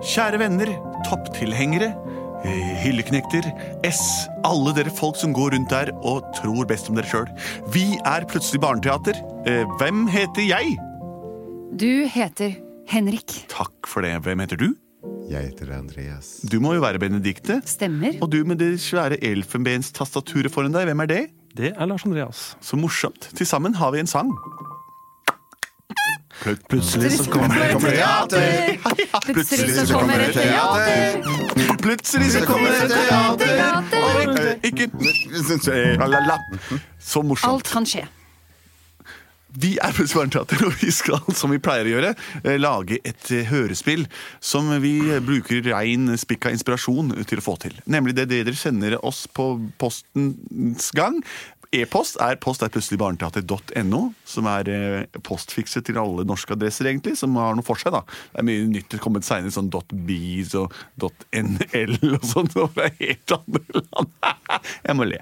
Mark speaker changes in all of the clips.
Speaker 1: Kjære venner, topptilhengere, eh, hylleknekter, S, alle dere folk som går rundt der og tror best om dere sjøl. Vi er plutselig barneteater. Eh, Hvem heter jeg?
Speaker 2: Du heter Henrik.
Speaker 1: Takk for det. Hvem heter du?
Speaker 3: Jeg heter Andreas.
Speaker 1: Du må jo være Benedikte.
Speaker 2: Stemmer.
Speaker 1: Og du med det svære elfenbenstastaturet foran deg, hvem er det?
Speaker 4: Det er Lars Andreas.
Speaker 1: Så morsomt. Til sammen har vi en sang. Plut- Plutselig så kommer
Speaker 2: Kommer
Speaker 3: teater!
Speaker 2: Plutselig så kommer et teater.
Speaker 1: Plutselig så kommer det teater! Eh, Ikke eh, Lalalala. Så morsomt.
Speaker 2: Alt kan skje.
Speaker 1: Vi er Plutselig barneteater, og vi skal, som vi pleier å gjøre, eh, lage et eh, hørespill som vi bruker rein spikka inspirasjon til å få til. Nemlig det dere sender oss på postens gang. E-post er post er plutseligbarneteater.no, som er eh, postfikset til alle norske adresser, egentlig, som har noe for seg, da. Det er mye nytt det er kommet seinere, sånn .biz og .nl og sånn, og det er helt andre land. Jeg må le.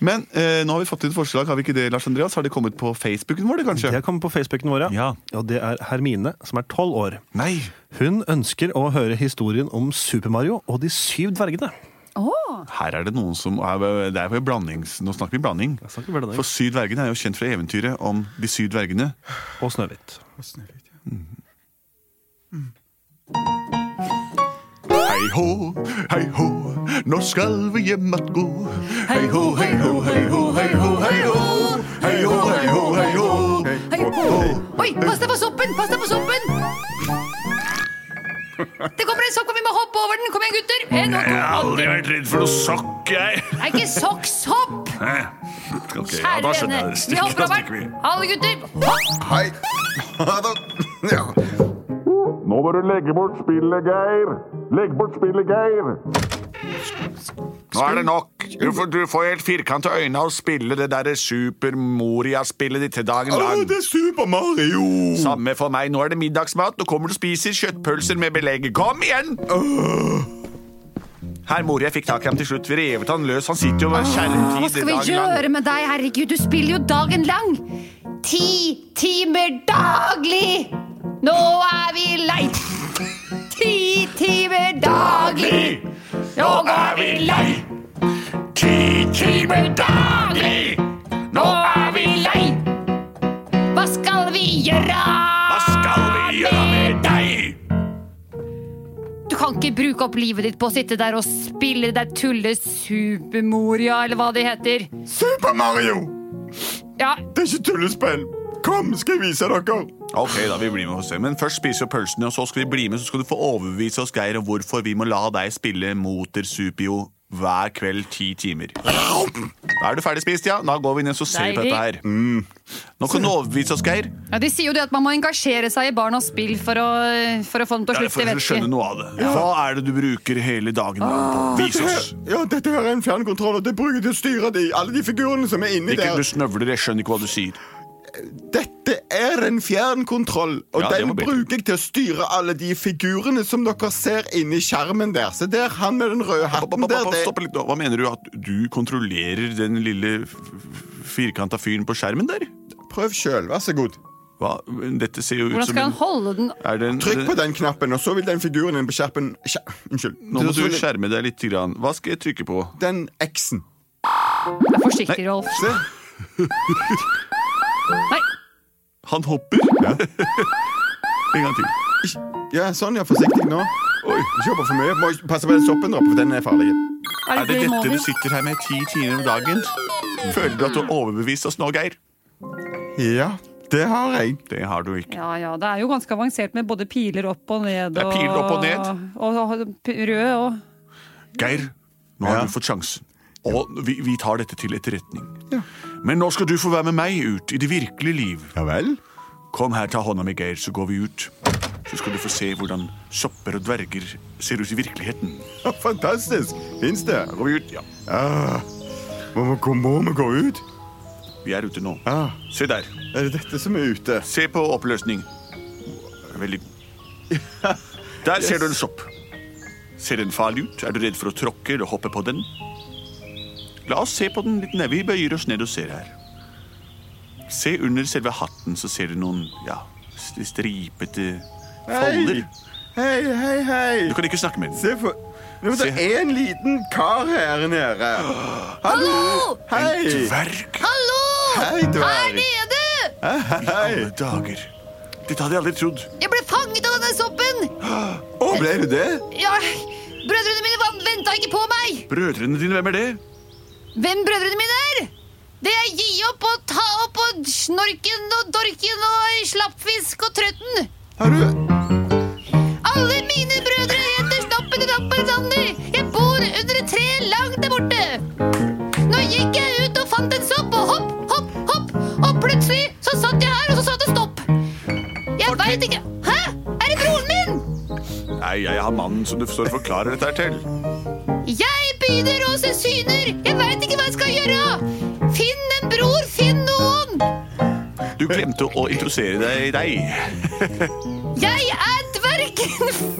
Speaker 1: Men eh, nå har vi fått inn et forslag, har vi ikke det, Lars Andreas? Har det kommet på Facebooken vår, det, kanskje?
Speaker 4: Det kommer på Facebooken vår,
Speaker 1: Ja.
Speaker 4: Og det er Hermine, som er tolv år.
Speaker 1: Nei!
Speaker 4: Hun ønsker å høre historien om Super-Mario og de syv dvergene.
Speaker 2: Åh,
Speaker 1: Her er det noen som er, Det er vel blandings... Nå snakker vi blanding.
Speaker 4: Jeg snakker bare det.
Speaker 1: For Syv dvergene er jo kjent fra eventyret om de syv dvergene.
Speaker 4: Og Snøhvit.
Speaker 1: Hei hå, hei hå, når skal vi hjem at gå? Hei hå, hei hå, hei hå, hei hå, hei hå. Hei hå, hei hå, hei hå.
Speaker 2: hei, hå. Oi, pass deg på soppen! Pass deg på soppen! Det kommer en sokk, og vi må hoppe over den! Kom igjen, gutter! En, og to, og tre.
Speaker 1: vært redd for noe sokk, jeg.
Speaker 2: Det er ikke sokksopp!
Speaker 1: Okay, ja,
Speaker 2: Kjære
Speaker 1: da
Speaker 2: vene!
Speaker 1: skjønner jeg det.
Speaker 2: Vi
Speaker 1: Stikk,
Speaker 2: hopper
Speaker 1: da
Speaker 2: over
Speaker 1: stikker vi.
Speaker 2: den! Alle gutter, hopp!
Speaker 3: Hei! Ha det! Ja.
Speaker 1: Nå må du legge bort spillet, Geir. Legg bort spillet, Geir. Nå er det nok. Du får, du får helt firkanta øyne av å spille det derre Super-Moria-spillet ditt til dagen lang.
Speaker 3: er Super Mario!
Speaker 1: Samme for meg. Nå er det middagsmat. Nå kommer du og spiser kjøttpølser med belegg. Kom igjen! Herr Moria fikk tak i ham til slutt. Vi revet han løs. Han sitter jo med
Speaker 2: Hva
Speaker 1: kjerretid
Speaker 2: skal vi gjøre med deg, herregud? Du spiller jo dagen lang! Ti timer daglig! Nå er vi lei! Ti timer daglig! Nå er vi lei!
Speaker 1: Ti timer
Speaker 2: daglig. Nå er vi lei! Hva skal vi gjøre?
Speaker 1: Hva skal vi gjøre med deg?
Speaker 2: Du kan ikke bruke opp livet ditt på å sitte der og spille det der tulle Supermoria, eller hva det heter.
Speaker 3: Super Mario!
Speaker 2: Ja,
Speaker 3: Det er ikke tullespill. Kom, skal jeg vise dere.
Speaker 1: Ok, da vi blir med hos deg. Men først spiser vi pølsene, og så skal vi bli med, så skal du få overbevise oss, Geir, om hvorfor vi må la deg spille Motor Supio hver kveld ti timer. Da er du ferdig spist, ja. Da går vi ned og ser vi på
Speaker 2: Deilig.
Speaker 1: dette her. Mm. Nå kan du overbevise oss, Geir.
Speaker 2: Ja, De sier jo det at man må engasjere seg i barnas spill for å, for å få dem til å
Speaker 1: Ja,
Speaker 2: slutte.
Speaker 1: for å
Speaker 2: vet ikke. Ah.
Speaker 1: skjønne noe av det. Hva er det du bruker hele dagen lang på? Vis oss.
Speaker 3: Ja, dette her er en fjernkontroll, og det bruker jeg til å styre de, alle de figurene som er inni
Speaker 1: Ikke
Speaker 3: der.
Speaker 1: du snøvler, jeg skjønner ikke hva du sier.
Speaker 3: Dette er en fjernkontroll, og
Speaker 1: Ja, det
Speaker 3: den
Speaker 1: var bedre.
Speaker 3: bruker jeg til å styre alle de figurene som dere ser inni skjermen der. Se der, han med den røde
Speaker 1: Stopp,
Speaker 3: hatten
Speaker 1: stopp,
Speaker 3: der.
Speaker 1: stopp,
Speaker 3: Det,
Speaker 1: stopp litt nå. Hva mener du? At du kontrollerer den lille f- f- firkanta fyren på skjermen der?
Speaker 3: prøv sjøl, vær så god.
Speaker 1: Hva? Dette ser jo ut
Speaker 2: Hvordan
Speaker 1: som
Speaker 2: skal han
Speaker 1: en-
Speaker 2: holde den
Speaker 1: Er det en-
Speaker 3: Trykk på den knappen, og så vil den figuren inne på skjerpen skjer- Unnskyld.
Speaker 1: Nå må
Speaker 3: Så
Speaker 1: du
Speaker 3: vil-
Speaker 1: skjerme deg litt. Grann. Hva skal jeg trykke på?
Speaker 3: Den X-en.
Speaker 2: Vær forsiktig, Rolf.
Speaker 3: Se.
Speaker 2: Nei,
Speaker 1: Han hopper. en gang til.
Speaker 3: Ikk- Ja, sånn, ja. Forsiktig nå.
Speaker 1: Oi.
Speaker 3: Ikke hopp for mye. Må ikke- passe på den soppen der oppe, for den er farlig.
Speaker 2: er det,
Speaker 1: Er det
Speaker 2: det
Speaker 1: dette
Speaker 2: målet?
Speaker 1: du sitter her med ti timer om dagen? Føler du at du har overbevist oss nå, Geir?
Speaker 3: Ja, det har jeg.
Speaker 1: Det har du ikke.
Speaker 2: Ja, ja, det er jo ganske avansert med både piler opp og ned.
Speaker 1: Det er piler opp og ned.
Speaker 2: Og, og, p- rød og
Speaker 1: Geir, nå har
Speaker 3: Ja.
Speaker 1: du fått sjansen. Og vi, vi tar dette til etterretning.
Speaker 3: Ja.
Speaker 1: Men nå skal du få være med meg ut i det virkelige liv.
Speaker 3: Ja vel?
Speaker 1: Kom her, ta hånda mi, Geir, så går vi ut. Så skal du få se hvordan sopper og dverger ser ut i virkeligheten.
Speaker 3: Ja, Fantastisk. Fins det?
Speaker 1: Da går vi ut, ja.
Speaker 3: Ah, må vi gå- må vi gå ut?
Speaker 1: Vi er ute nå.
Speaker 3: Ah,
Speaker 1: Se der.
Speaker 3: er det dette som er ute?
Speaker 1: Se på oppløsning. Veldig Der ser du en sopp. Ser den farlig ut? Er du redd for å tråkke eller hoppe på den? La oss se på den litt ned. Vi bøyer oss ned og ser her. Se under selve hatten, så ser du noen ja, st- stripete folder.
Speaker 3: Hei, hei, hei.
Speaker 1: Du kan ikke snakke med den.
Speaker 3: Se for... Nå, det
Speaker 1: Se.
Speaker 3: er en liten kar her nede. Hallo! Hei!
Speaker 1: Dverg!
Speaker 2: Hallo!
Speaker 3: Hei, dverg.
Speaker 2: Her nede!
Speaker 1: Alle dager. Dette hadde jeg aldri trodd.
Speaker 2: Jeg ble fanget av denne soppen!
Speaker 3: Å, ble du det?
Speaker 2: Ja, brødrene mine venta ikke på meg!
Speaker 1: Brødrene dine, hvem er det?
Speaker 2: Hvem brødrene mine er? Det er gi opp og ta opp og snorken og dorken og slappfisk og trøtten.
Speaker 3: Har du...
Speaker 2: Alle mine brødre heter Snoppen og Rappen Sander. Jeg bor under et tre langt der borte. Nå gikk jeg ut og fant en sopp og hopp, hopp, hopp. Og plutselig så satt jeg her, og så sa det stopp. Jeg veit ikke Hæ? Er det broren min?
Speaker 1: Nei, jeg har mannen som du står og forklarer dette her til.
Speaker 2: Jeg begynner å se syner. Jeg veit ikke hva jeg skal gjøre. Finn en bror, finn noen.
Speaker 1: Du glemte å introdusere deg. deg.
Speaker 2: Jeg er dvergen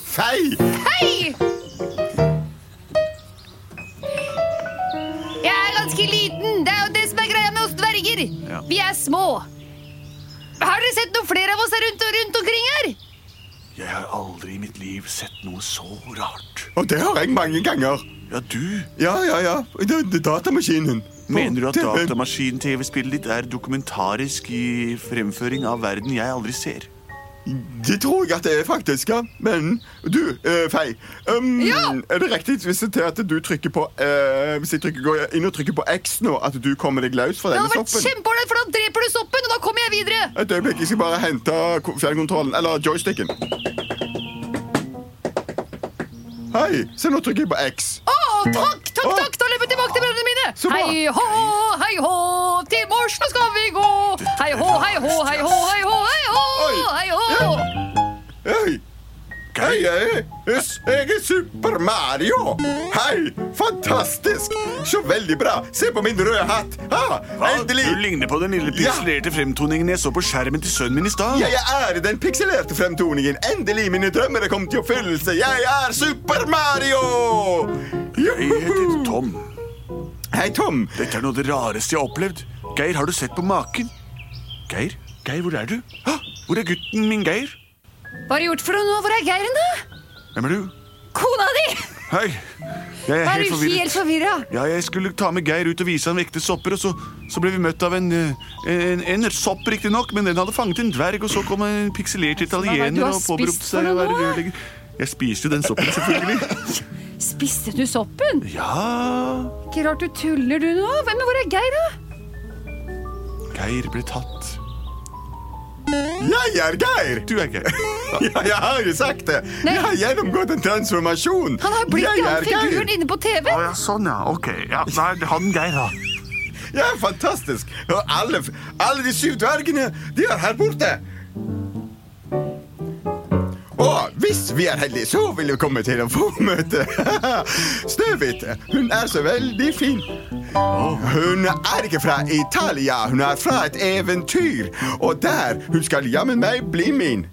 Speaker 3: Fei!
Speaker 2: Fei! Jeg er ganske liten. Det er jo det som er greia med oss dverger.
Speaker 1: Ja.
Speaker 2: Vi er små. Har dere sett noen flere av oss her rundt, rundt omkring her?
Speaker 1: Jeg har aldri i mitt liv sett noe så rart.
Speaker 3: Og det har jeg mange ganger.
Speaker 1: Ja, du.
Speaker 3: Ja, ja, ja. Det, det er datamaskinen.
Speaker 1: Mener du at
Speaker 3: Det-
Speaker 1: datamaskin-TV-spillet ditt er dokumentarisk i fremføring av verden jeg aldri ser?
Speaker 3: Det tror jeg at det er faktisk, ja. Men du, eh, Fei. Um,
Speaker 2: Ja!
Speaker 3: Er det riktig hvis jeg til at du trykker på eh, Hvis jeg trykker, går inn og trykker på X nå, at du kommer deg løs fra
Speaker 2: Det
Speaker 3: denne
Speaker 2: hadde vært
Speaker 3: soppen?
Speaker 2: kjempeålreit, for da dreper du soppen, og da kommer jeg videre.
Speaker 3: Et øyeblikk, jeg skal bare hente ko- fjernkontrollen. Eller joysticken. Hei, se nå trykker jeg på X.
Speaker 2: Å, takk, takk,
Speaker 3: Å.
Speaker 2: takk! Da løper jeg tilbake til brødrene mine.
Speaker 3: Så bra.
Speaker 2: Hei hå, hei hå, til mors nå skal vi gå. Hei hå, hei hå, hei hå, hei hå, hei hå,
Speaker 3: Oi.
Speaker 2: hei hå.
Speaker 3: Hei! Hei, hei! Yes, Jeg er Super Mario! Hei! Fantastisk! Så veldig bra! Se på min røde hatt! Ha,
Speaker 1: Hva?
Speaker 3: endelig!
Speaker 1: Du ligner på den lille
Speaker 3: Ja.
Speaker 1: pikselerte fremtoningen jeg så på skjermen til sønnen min i stad.
Speaker 3: Jeg er den pikselerte fremtoningen. Endelig mine drømmer er kommet til oppfyllelse. Jeg er Super Mario!
Speaker 1: Jeg heter
Speaker 3: Juhu!
Speaker 1: Tom.
Speaker 3: Hei, Tom.
Speaker 1: Dette er noe av det rareste jeg har opplevd. Geir, har du sett på maken? Geir? Geir, hvor er du? Hå! Hvor er gutten min, Geir?
Speaker 2: Hva har du gjort for noe nå? Hvor er Geiren, da?
Speaker 1: Hvem er du?
Speaker 2: Kona di!
Speaker 1: Hei! Jeg er
Speaker 2: Er
Speaker 1: helt
Speaker 2: du helt
Speaker 1: forvirret.
Speaker 2: forvirra?
Speaker 1: Ja, jeg skulle ta med Geir ut og vise han vekte sopper, og så, så ble vi møtt av en, eh, en, en sopp, riktignok, men den hadde fanget en dverg, og så kom en pikselert
Speaker 2: det du
Speaker 1: italiener
Speaker 2: har
Speaker 1: og påberopte
Speaker 2: spist for
Speaker 1: seg å
Speaker 2: noe
Speaker 1: være
Speaker 2: nå?
Speaker 1: rørlegger. Jeg spiste jo den soppen, selvfølgelig.
Speaker 2: Spiste du soppen?
Speaker 1: Ja
Speaker 2: Ikke rart du tuller du nå. Hvem hvor er Geir, da?
Speaker 1: Geir ble tatt.
Speaker 3: Jeg er Geir.
Speaker 1: Du er Geir.
Speaker 3: Ja, jeg har jo sagt det.
Speaker 2: Nei.
Speaker 3: Jeg har gjennomgått en transformasjon.
Speaker 2: Han har blitt
Speaker 3: Jeg
Speaker 2: den
Speaker 3: er
Speaker 2: figuren inne på TV.
Speaker 1: ja, sånn, ja. Ok. Ja, nei, han Geir, da.
Speaker 3: Ja, fantastisk. Og alle, alle de syv dvergene, de er her borte. Og hvis vi er heldige, så vil vi komme til å få møte Snøhvit. Hun er så veldig fin. Hun er ikke fra Italia, hun er fra et eventyr. Og der hun skal jammen meg bli min.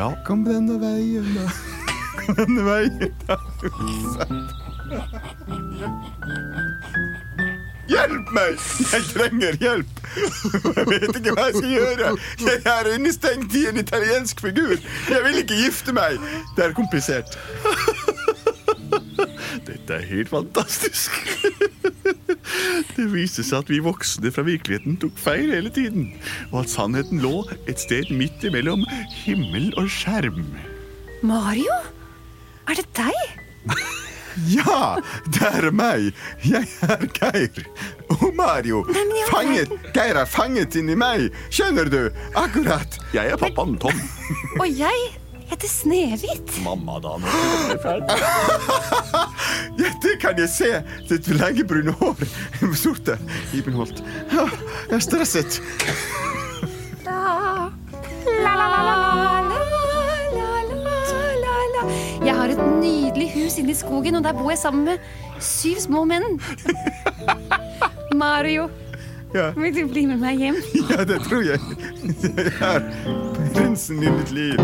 Speaker 1: Ja.
Speaker 3: Kom denne veien, da. Kom denne veien, da. Hjelp meg! Jeg trenger hjelp! Jeg vet ikke hva jeg skal gjøre. Jeg er innestengt i en italiensk figur. Jeg vil ikke gifte meg. Det er komplisert.
Speaker 1: Dette er helt fantastisk. Det viste seg at vi voksne fra virkeligheten tok feil hele tiden, og at sannheten lå et sted midt imellom himmel og skjerm.
Speaker 2: Mario? Er det deg?
Speaker 3: Ja, det er meg. Jeg er Geir. Og Mario.
Speaker 2: men i all
Speaker 3: Fanget. Geir er fanget inni meg. Skjønner du? Akkurat.
Speaker 1: Jeg er pappaen Tom.
Speaker 2: Og jeg heter Snehvit.
Speaker 1: Mamma, da. Nå.
Speaker 3: Ja, det kan jeg se. Ditt lange brune hår. Sorte. Ibenholt. Ja, Jeg er stresset.
Speaker 2: Jeg har et nydelig hus inne i skogen, og der bor jeg sammen med syv små menn. Mario,
Speaker 3: Ja.
Speaker 2: vil du bli med meg hjem?
Speaker 3: Ja, det tror jeg. Jeg er prinsen i mitt liv.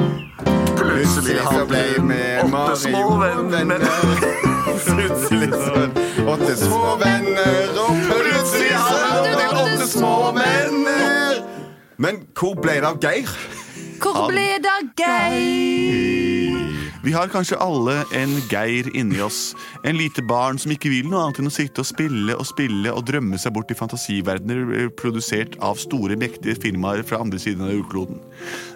Speaker 3: Plutselig så ble jeg med Mario
Speaker 1: små venner.
Speaker 3: Plutselig så åtte små venner, og plutselig hadde han åtte små venner. Men hvor ble det av Geir?
Speaker 2: Hvor
Speaker 1: Han-
Speaker 2: ble det av Geir?
Speaker 1: Vi har kanskje alle en Geir inni oss. En lite barn som ikke vil noe annet enn å sitte og spille og spille og drømme seg bort i fantasiverdener eh, produsert av store, mektige firmaer fra andre siden av jordkloden.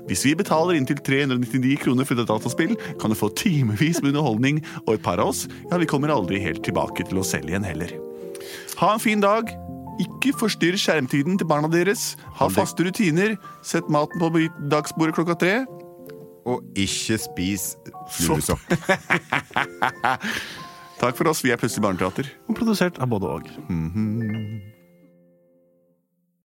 Speaker 1: Hvis vi betaler inntil 399 kroner for et dataspill, kan du få timevis med underholdning, og et par av oss, ja, vi kommer aldri helt tilbake til oss selv igjen heller. Ha en fin dag. Ikke forstyrr skjermtiden til barna deres. Ha faste rutiner. Sett maten på dagsbordet klokka tre.
Speaker 3: Og ikke spis fluesopp.
Speaker 1: Takk for oss, vi er Plutselig barneteater.
Speaker 4: Og produsert av både og.